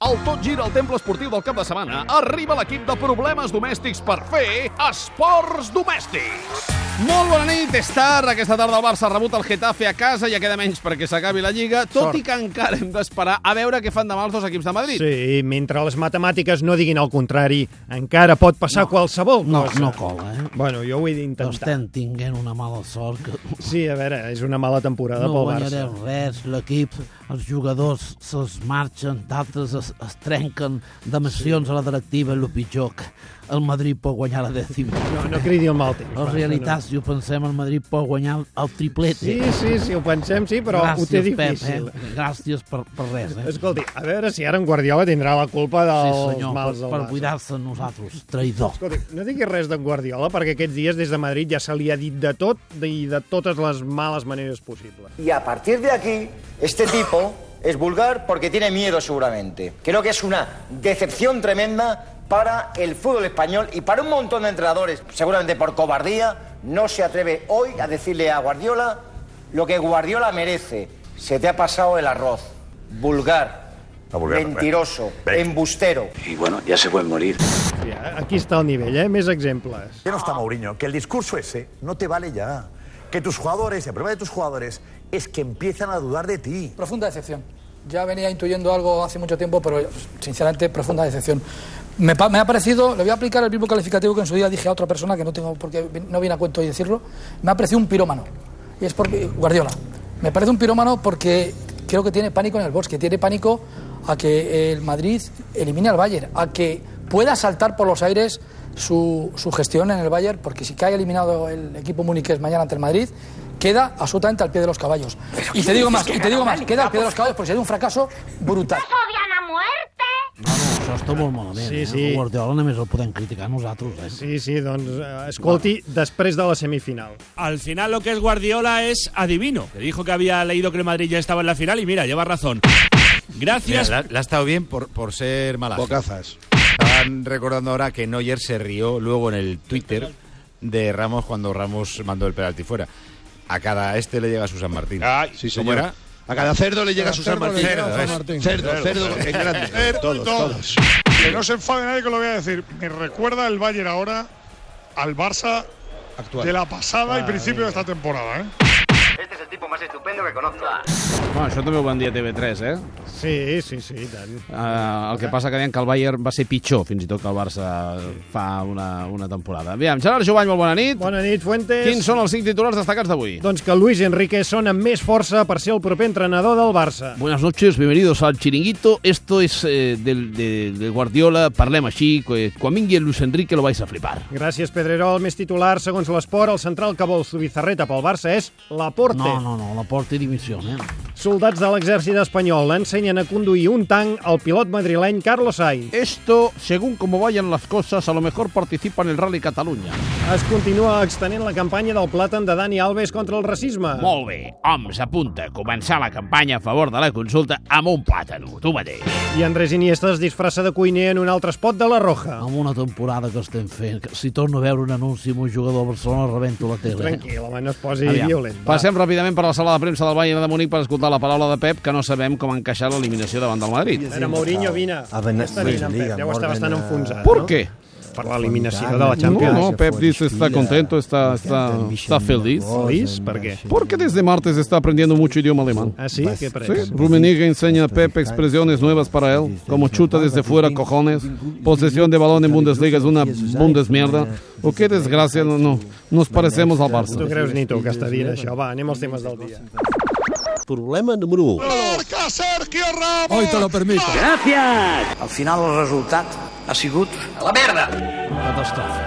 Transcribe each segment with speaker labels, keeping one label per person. Speaker 1: Al Tot Gira al Temple Esportiu del cap de setmana arriba l'equip de problemes domèstics per fer esports domèstics.
Speaker 2: Molt bona nit, és tard. Aquesta tarda el Barça ha rebut el Getafe a casa, ja queda menys perquè s'acabi la Lliga, tot
Speaker 3: Sort.
Speaker 2: i que encara hem d'esperar a veure què fan demà els dos equips de Madrid.
Speaker 3: Sí, mentre les matemàtiques no diguin el contrari, encara pot passar no, qualsevol
Speaker 4: No,
Speaker 3: cosa.
Speaker 4: no cola, eh?
Speaker 3: Bueno, jo ho he
Speaker 4: No
Speaker 3: d'intentar.
Speaker 4: estem tinguent una mala sort que
Speaker 3: Sí, a veure, és una mala temporada
Speaker 4: no
Speaker 3: pel Barça.
Speaker 4: guanyarem res, l'equip, els jugadors se'ls marxen, d'altres es, es trenquen, demissions sí. a la directiva, el pitjor, que el Madrid pot guanyar la dècima.
Speaker 3: No, no cridi el mal temps.
Speaker 4: En
Speaker 3: va,
Speaker 4: realitat, si ho pensem, el Madrid pot guanyar el
Speaker 3: això
Speaker 4: triplet.
Speaker 3: No. Sí, sí, sí, ho pensem, sí, però
Speaker 4: Gràcies,
Speaker 3: ho té difícil.
Speaker 4: Pep, eh? Gràcies per, per res, eh?
Speaker 3: Escolti, a veure si ara en Guardiola tindrà la culpa dels
Speaker 4: sí, senyor,
Speaker 3: mals
Speaker 4: per,
Speaker 3: del
Speaker 4: per
Speaker 3: Barça.
Speaker 4: buidar-se de nosaltres, traïdor.
Speaker 3: Escolti, no diguis res d'en Guardiola, perquè aquests dies des de Madrid ja se li ha dit de tot i de totes les males maneres possibles.
Speaker 5: Y a partir de aquí, este tipo es vulgar porque tiene miedo seguramente. Creo que es una decepción tremenda para el fútbol español y para un montón de entrenadores, seguramente por cobardía, no se atreve hoy a decirle a Guardiola lo que Guardiola merece. Se te ha pasado el arroz. Vulgar,
Speaker 6: No, vulgar no,
Speaker 5: mentiroso,
Speaker 6: venga.
Speaker 5: embustero.
Speaker 7: Y bueno, ya se pueden morir.
Speaker 3: Sí, aquí està el nivell, eh? Més exemples.
Speaker 6: Ya no está Mourinho, que el discurso ese no te vale ya. Que tus jugadores, el problema de tus jugadores es que empiezan a dudar de ti.
Speaker 2: Ah.
Speaker 8: Profunda decepción. Ya venía intuyendo algo hace mucho tiempo, pero sinceramente profunda decepción. Me, pa- me ha parecido, le voy a aplicar el mismo calificativo que en su día dije a otra persona que no tengo porque no viene a cuento hoy decirlo. Me ha parecido un pirómano. Y es porque Guardiola. Me parece un pirómano porque creo que tiene pánico en el bosque, tiene pánico a que el Madrid elimine al Bayern, a que pueda saltar por los aires su, su gestión en el Bayern, porque si cae eliminado el equipo muniqués mañana ante el Madrid, queda absolutamente al pie de los caballos. Y te digo más, y te digo más, queda al pie de los caballos porque sería un fracaso brutal.
Speaker 9: odian a muerte.
Speaker 4: No, no, això està molt malament,
Speaker 3: Sí,
Speaker 4: eh?
Speaker 3: sí.
Speaker 4: El Guardiola només el podem criticar nosaltres, eh?
Speaker 3: Sí, sí, doncs, eh, escolti, després de la semifinal.
Speaker 10: Al final lo que es Guardiola es adivino. Que dijo que había leído que el Madrid ya estaba en la final y mira, lleva razón. Gracias.
Speaker 11: Mira, la, la ha estado bien por, por ser mala.
Speaker 12: Bocazas.
Speaker 11: Están recordando ahora que Neuer se rió luego en el Twitter de Ramos cuando Ramos mandó el penalti fuera. A cada este le llega Susan Martín.
Speaker 12: Sí,
Speaker 11: ¿Cómo
Speaker 12: señor.
Speaker 11: era?
Speaker 12: A cada cerdo le llega
Speaker 11: cada
Speaker 12: Susan
Speaker 11: cerdo le
Speaker 12: Martín.
Speaker 11: llega Cerdo, Susan es. Martín.
Speaker 12: cerdo,
Speaker 11: Cerdo.
Speaker 12: cerdo, en grande. todos, todos.
Speaker 13: Que no se enfade nadie que lo voy a decir. Me recuerda el Bayern ahora al Barça
Speaker 12: Actual.
Speaker 13: de la pasada y principio de esta temporada. ¿eh?
Speaker 5: Este es el tipo más estupendo que conozco.
Speaker 2: Bueno, això també ho van dir a TV3, eh?
Speaker 3: Sí, sí, sí, i tant.
Speaker 2: Uh, el que passa que deien que el Bayern va ser pitjor, fins i tot que el Barça fa una, una temporada. Aviam, Gerard Jovany, molt bona nit.
Speaker 3: Bona nit, Fuentes.
Speaker 2: Quins són els cinc titulars destacats d'avui?
Speaker 3: Doncs que Luis Enrique sona amb més força per ser el proper entrenador del Barça.
Speaker 2: Buenas noches, bienvenidos al Chiringuito. Esto es eh, del, de, de Guardiola, parlem així, Coamingui i Luis Enrique lo vais a flipar.
Speaker 3: Gràcies, Pedrerol. Més titular, segons l'esport, el central que vol Zubizarreta pel Barça és Laporte.
Speaker 4: No, no, no, la porta i dimissió, eh?
Speaker 3: Soldats de l'exèrcit espanyol ensenyen a conduir un tanc al pilot madrileny Carlos Sainz.
Speaker 2: Esto, según como vayan las cosas, a lo mejor participa en el Rally Catalunya.
Speaker 3: Es continua extenent la campanya del plàtan de Dani Alves contra el racisme.
Speaker 14: Molt bé, homes, apunta. Començar la campanya a favor de la consulta amb un plàtano, tu mateix.
Speaker 3: I Andrés Iniesta es disfressa de cuiner en un altre espot de la Roja.
Speaker 4: Amb una temporada que estem fent, que si torno a veure un anunci amb un jugador del Barcelona, rebento la tele.
Speaker 3: Tranquil, home, no es posi
Speaker 4: Aviam,
Speaker 3: violent. va.
Speaker 2: Passem ràpidament per la sala de premsa del Bayern de Múnich per escoltar la paraula de Pep, que no sabem com encaixar l'eliminació davant del Madrid.
Speaker 3: Era Mourinho, vine.
Speaker 6: A Bene-
Speaker 3: Aquesta vine, en Pep.
Speaker 6: Bundesliga,
Speaker 3: Deu estar bastant
Speaker 6: Morden,
Speaker 3: enfonsat,
Speaker 2: ¿Por
Speaker 3: no?
Speaker 2: qué?
Speaker 3: Per l'eliminació de la Champions.
Speaker 2: No, no, Pep dice está contento, está, está, está feliz.
Speaker 3: Feliz? Per què?
Speaker 2: Porque desde martes está aprendiendo mucho idioma alemán.
Speaker 3: Ah, sí? Què
Speaker 2: Sí,
Speaker 3: prens?
Speaker 2: Rummenigge enseña a Pep expresiones nuevas para él, como chuta desde fuera, cojones, posesión de balón en Bundesliga es una bundesmierda. O qué desgracia, no, no, nos parecemos al
Speaker 3: Tu
Speaker 2: Barça.
Speaker 3: creus, Nito, que està dient això? Va, anem als temes del dia.
Speaker 7: Problema número 1.
Speaker 13: ¡Marca Sergio Ramos! Hoy te lo permito.
Speaker 5: Al final el resultat ha sigut la merda.
Speaker 4: Catàstrofe.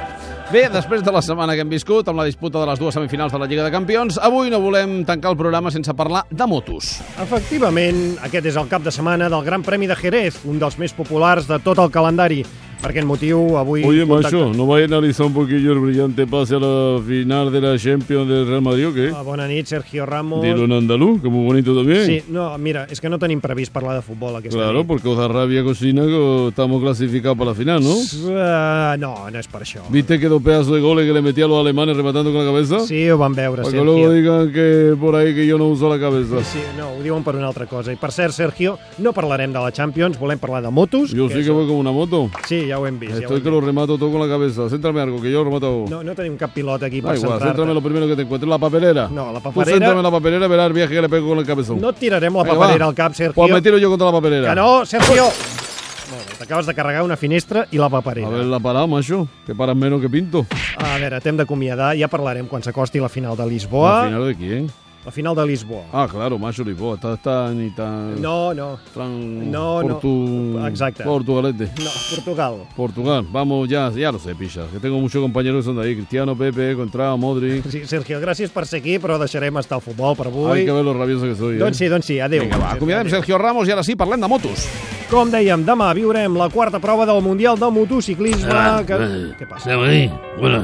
Speaker 2: Bé, després de la setmana que hem viscut amb la disputa de les dues semifinals de la Lliga de Campions, avui no volem tancar el programa sense parlar de motos.
Speaker 3: Efectivament, aquest és el cap de setmana del Gran Premi de Jerez, un dels més populars de tot el calendari. Per aquest motiu, avui...
Speaker 9: Oye,
Speaker 3: contacta-
Speaker 9: macho, ¿no vais a analizar un poquillo el brillante pase a la final de la Champions del Real Madrid o qué?
Speaker 3: Ah, Bona nit, Sergio Ramos.
Speaker 9: Dilo en andaluz, que muy bonito también.
Speaker 3: Sí, no, mira, és que no tenim previst parlar de futbol aquesta
Speaker 9: Claro,
Speaker 3: nit.
Speaker 9: porque os da rabia cocina que estamos clasificados para la final, ¿no?
Speaker 3: Uh, no, no és per això.
Speaker 9: ¿Viste que dos pedazos de goles que le metí a los alemanes rematando con la cabeza?
Speaker 3: Sí, ho van veure,
Speaker 9: Para que
Speaker 3: Sergio.
Speaker 9: luego digan que por ahí que yo no uso la cabeza.
Speaker 3: Sí, no, ho diuen per una altra cosa. I per cert, Sergio, no parlarem de la Champions, volem parlar de motos.
Speaker 9: Yo sí que voy como una moto.
Speaker 3: Sí, ja ho hem vist. Ja ho
Speaker 9: Estoy
Speaker 3: hem...
Speaker 9: que lo remato todo con la cabeza. Céntrame algo, que yo lo remato.
Speaker 3: No, no tenim cap pilot aquí
Speaker 9: Da
Speaker 3: per
Speaker 9: igual,
Speaker 3: centrar-te.
Speaker 9: céntrame lo primero que te encuentre. La papelera.
Speaker 3: No, la
Speaker 9: Tú
Speaker 3: paperera...
Speaker 9: céntrame en la papelera, verás el viaje que le pego con el cabezón.
Speaker 3: No et tirarem la
Speaker 9: Vinga,
Speaker 3: paperera
Speaker 9: va.
Speaker 3: al cap, Sergio.
Speaker 9: Pues me tiro yo contra la papelera.
Speaker 3: Que no, Sergio! Molt bé, T'acabes de carregar una finestra i la paperera.
Speaker 9: A ver la parada, macho, que paras menos que pinto.
Speaker 3: A veure, t'hem d'acomiadar, ja parlarem quan s'acosti la final de Lisboa.
Speaker 9: ¿La final de quién?
Speaker 3: La final de Lisboa.
Speaker 9: Ah, claro, macho, Lisboa. Está tan y tan...
Speaker 3: No, no.
Speaker 9: Tran...
Speaker 3: No, no.
Speaker 9: Portu-
Speaker 3: Exacte.
Speaker 9: Portugalete.
Speaker 3: No, Portugal.
Speaker 9: Portugal, vamos ya, ya lo sé, pilla. Que tengo muchos compañeros que son de ahí. Cristiano, Pepe, Contrada, Modric.
Speaker 3: Sí, Sergio, gràcies per ser aquí, però deixarem estar el futbol per avui.
Speaker 9: Hay que ver lo rabioso que soy.
Speaker 3: Doncs
Speaker 9: eh.
Speaker 3: sí, doncs sí, adéu.
Speaker 9: Vinga, va, acomiadem
Speaker 3: Sergio Ramos i ara sí, parlem de motos. Com dèiem, demà viurem la quarta prova del Mundial de Motociclisme.
Speaker 4: Ah,
Speaker 3: que...
Speaker 4: ah,
Speaker 3: Què passa?
Speaker 4: Esteu ahí? Hola.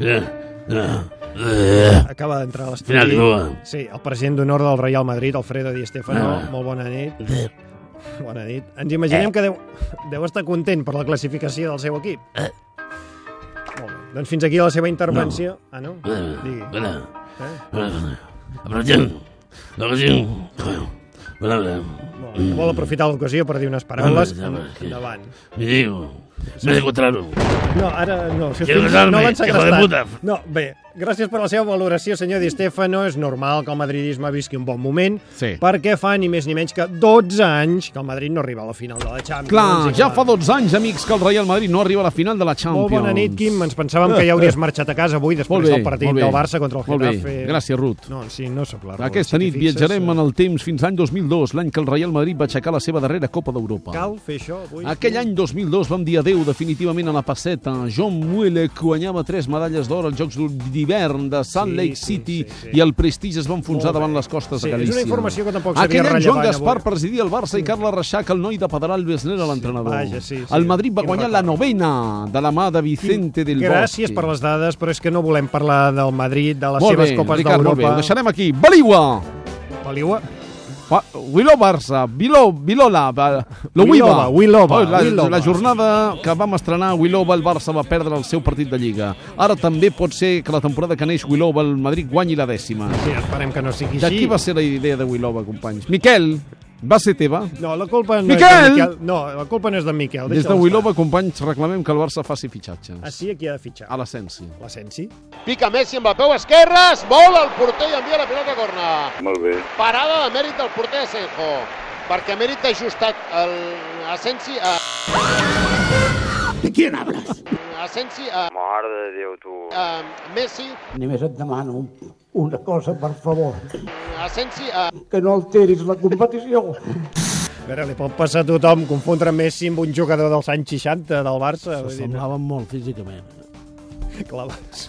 Speaker 4: Mira, mira, eh.
Speaker 3: Acaba d'entrar a l'estudi.
Speaker 4: Final, Lisboa.
Speaker 3: Sí, el president d'honor del Real Madrid, Alfredo Di Stefano.
Speaker 4: Ah. Eh.
Speaker 3: Molt bona nit. Bona nit. Ens imaginem que deu, deu estar content per la classificació del seu equip.
Speaker 4: Eh.
Speaker 3: Molt bé. Doncs fins aquí la seva intervenció. Ah, no?
Speaker 4: Hola, hola.
Speaker 3: Eh?
Speaker 4: Hola. Aprovetem. Aprovetem. Hola, hola.
Speaker 3: Que Vol aprofitar l'ocasió per dir unes paraules.
Speaker 4: Home, home, que-
Speaker 3: Endavant.
Speaker 4: Me digo, me de encontraron.
Speaker 3: No, ara no. Si us
Speaker 4: Quiero
Speaker 3: fixeu,
Speaker 4: casarme,
Speaker 3: no l'han
Speaker 4: hijo de
Speaker 3: segrestat.
Speaker 4: puta.
Speaker 3: No, bé, gràcies per la seva valoració, senyor Di Stefano. És normal que el madridisme visqui un bon moment,
Speaker 2: Sí.
Speaker 3: perquè fa ni més ni menys que 12 anys que el Madrid no arriba a la final de la Champions.
Speaker 2: Clar,
Speaker 3: I
Speaker 2: ja fa 12 anys, amics, que el Real Madrid no arriba a la final de la Champions.
Speaker 3: Doncs Molt bona nit, Quim. Ens pensàvem que ja hauries marxat a casa avui després
Speaker 2: Molt bé,
Speaker 3: del partit
Speaker 2: molt bé.
Speaker 3: del Barça contra el
Speaker 2: Molt bé.
Speaker 3: Getafe.
Speaker 2: Gràcies, Ruth.
Speaker 3: No, sí, no sóc la Ruth.
Speaker 2: Aquesta
Speaker 3: Si t'hi
Speaker 2: nit
Speaker 3: fixes,
Speaker 2: viatjarem
Speaker 3: eh,
Speaker 2: en el temps fins l'any 2002, l'any que el Real Madrid va aixecar la seva darrera Copa d'Europa.
Speaker 3: Cal fer això avui?
Speaker 2: Aquell any 2002 vam dir adeu definitivament a la passeta. John Muelek guanyava tres medalles d'or als Jocs d'hivern de Salt
Speaker 3: Sí,
Speaker 2: Lake
Speaker 3: sí,
Speaker 2: City i el prestigi es va enfonsar davant les costes
Speaker 3: Sí,
Speaker 2: de
Speaker 3: és una
Speaker 2: Galícia.
Speaker 3: informació que tampoc seria
Speaker 2: Aquell any Joan
Speaker 3: rellevant
Speaker 2: Gaspar
Speaker 3: avui.
Speaker 2: presidia el Barça i Carles Reixac, el noi de Pedral Besner, l'entrenador.
Speaker 3: Vaja, sí, sí.
Speaker 2: El Madrid va
Speaker 3: Quin
Speaker 2: guanyar la novena de la mà de Vicente del Bosque.
Speaker 3: Gràcies per les dades, però és que no volem parlar del Madrid, de les
Speaker 2: Molt
Speaker 3: seves
Speaker 2: bé,
Speaker 3: copes
Speaker 2: Ricard, molt bé.
Speaker 3: d'Europa. eh?
Speaker 2: Ho deixarem aquí. Baliua!
Speaker 3: Baliua?
Speaker 2: Pa Willow Barça, Biló, Bilola, ba- lo Wiva.
Speaker 3: Wilova, Wilova,
Speaker 2: Oh, la,
Speaker 3: Wilova.
Speaker 2: la jornada que vam estrenar a Wilova, el Barça va perdre el seu partit de Lliga. Ara també pot ser que la temporada que neix Wilova, el Madrid guanyi la dècima.
Speaker 3: Sí, esperem que no sigui
Speaker 2: De
Speaker 3: així.
Speaker 2: qui va ser la idea de Wilova, companys? Miquel, va ser teva?
Speaker 3: No, la culpa no és de
Speaker 2: Miquel!
Speaker 3: Miquel. No, la culpa no és de Miquel.
Speaker 2: Des de
Speaker 3: deixa'l
Speaker 2: Wilova, companys, reclamem que el Barça faci fitxatges.
Speaker 3: estar. Ah, sí, aquí ha de fitxar.
Speaker 2: A l'Asensi.
Speaker 3: L'Asensi?
Speaker 15: Pica Messi amb el peu esquerre, es vol el porter i envia la pilota a corna.
Speaker 16: Molt bé.
Speaker 15: Parada de mèrit del porter Asenjo, perquè mèrit ha ajustat el Asensi a...
Speaker 17: ¿De quién hablas?
Speaker 15: Asensi a...
Speaker 16: Mare de Déu, tu.
Speaker 15: a Messi,
Speaker 17: Només et demano un- una cosa, per favor,
Speaker 15: Asensi a...
Speaker 17: que no alteris la competició.
Speaker 3: A veure, li pot passar a tothom confondre Messi amb un jugador dels anys 60 del Barça.
Speaker 4: Se
Speaker 3: Vull dir, no.
Speaker 4: semblaven molt físicament.
Speaker 3: Clavats.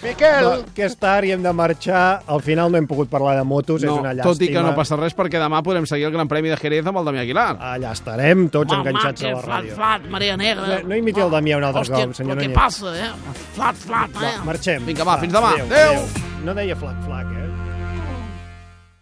Speaker 15: Miquel!
Speaker 3: No, que és tard i hem de marxar. Al final no hem pogut parlar de motos, és
Speaker 2: No,
Speaker 3: una llàstima.
Speaker 2: tot i que no passa res perquè demà podem seguir el Gran Premi de Jerez amb el Damià Aguilar.
Speaker 3: Allà estarem, tots
Speaker 2: Mamà,
Speaker 3: enganxats a
Speaker 2: que
Speaker 3: la ràdio.
Speaker 4: Flat, Marea Negra.
Speaker 3: No, no imiti el Damià un altre
Speaker 4: Hòstia,
Speaker 3: cop, senyor
Speaker 4: però què
Speaker 3: Núñez.
Speaker 4: passa, eh? Flat, flat, eh?
Speaker 3: Marxem.
Speaker 2: Vinga, va, fins demà.
Speaker 3: Adéu.
Speaker 2: Adéu.
Speaker 3: adéu. No deia flac, flac, eh?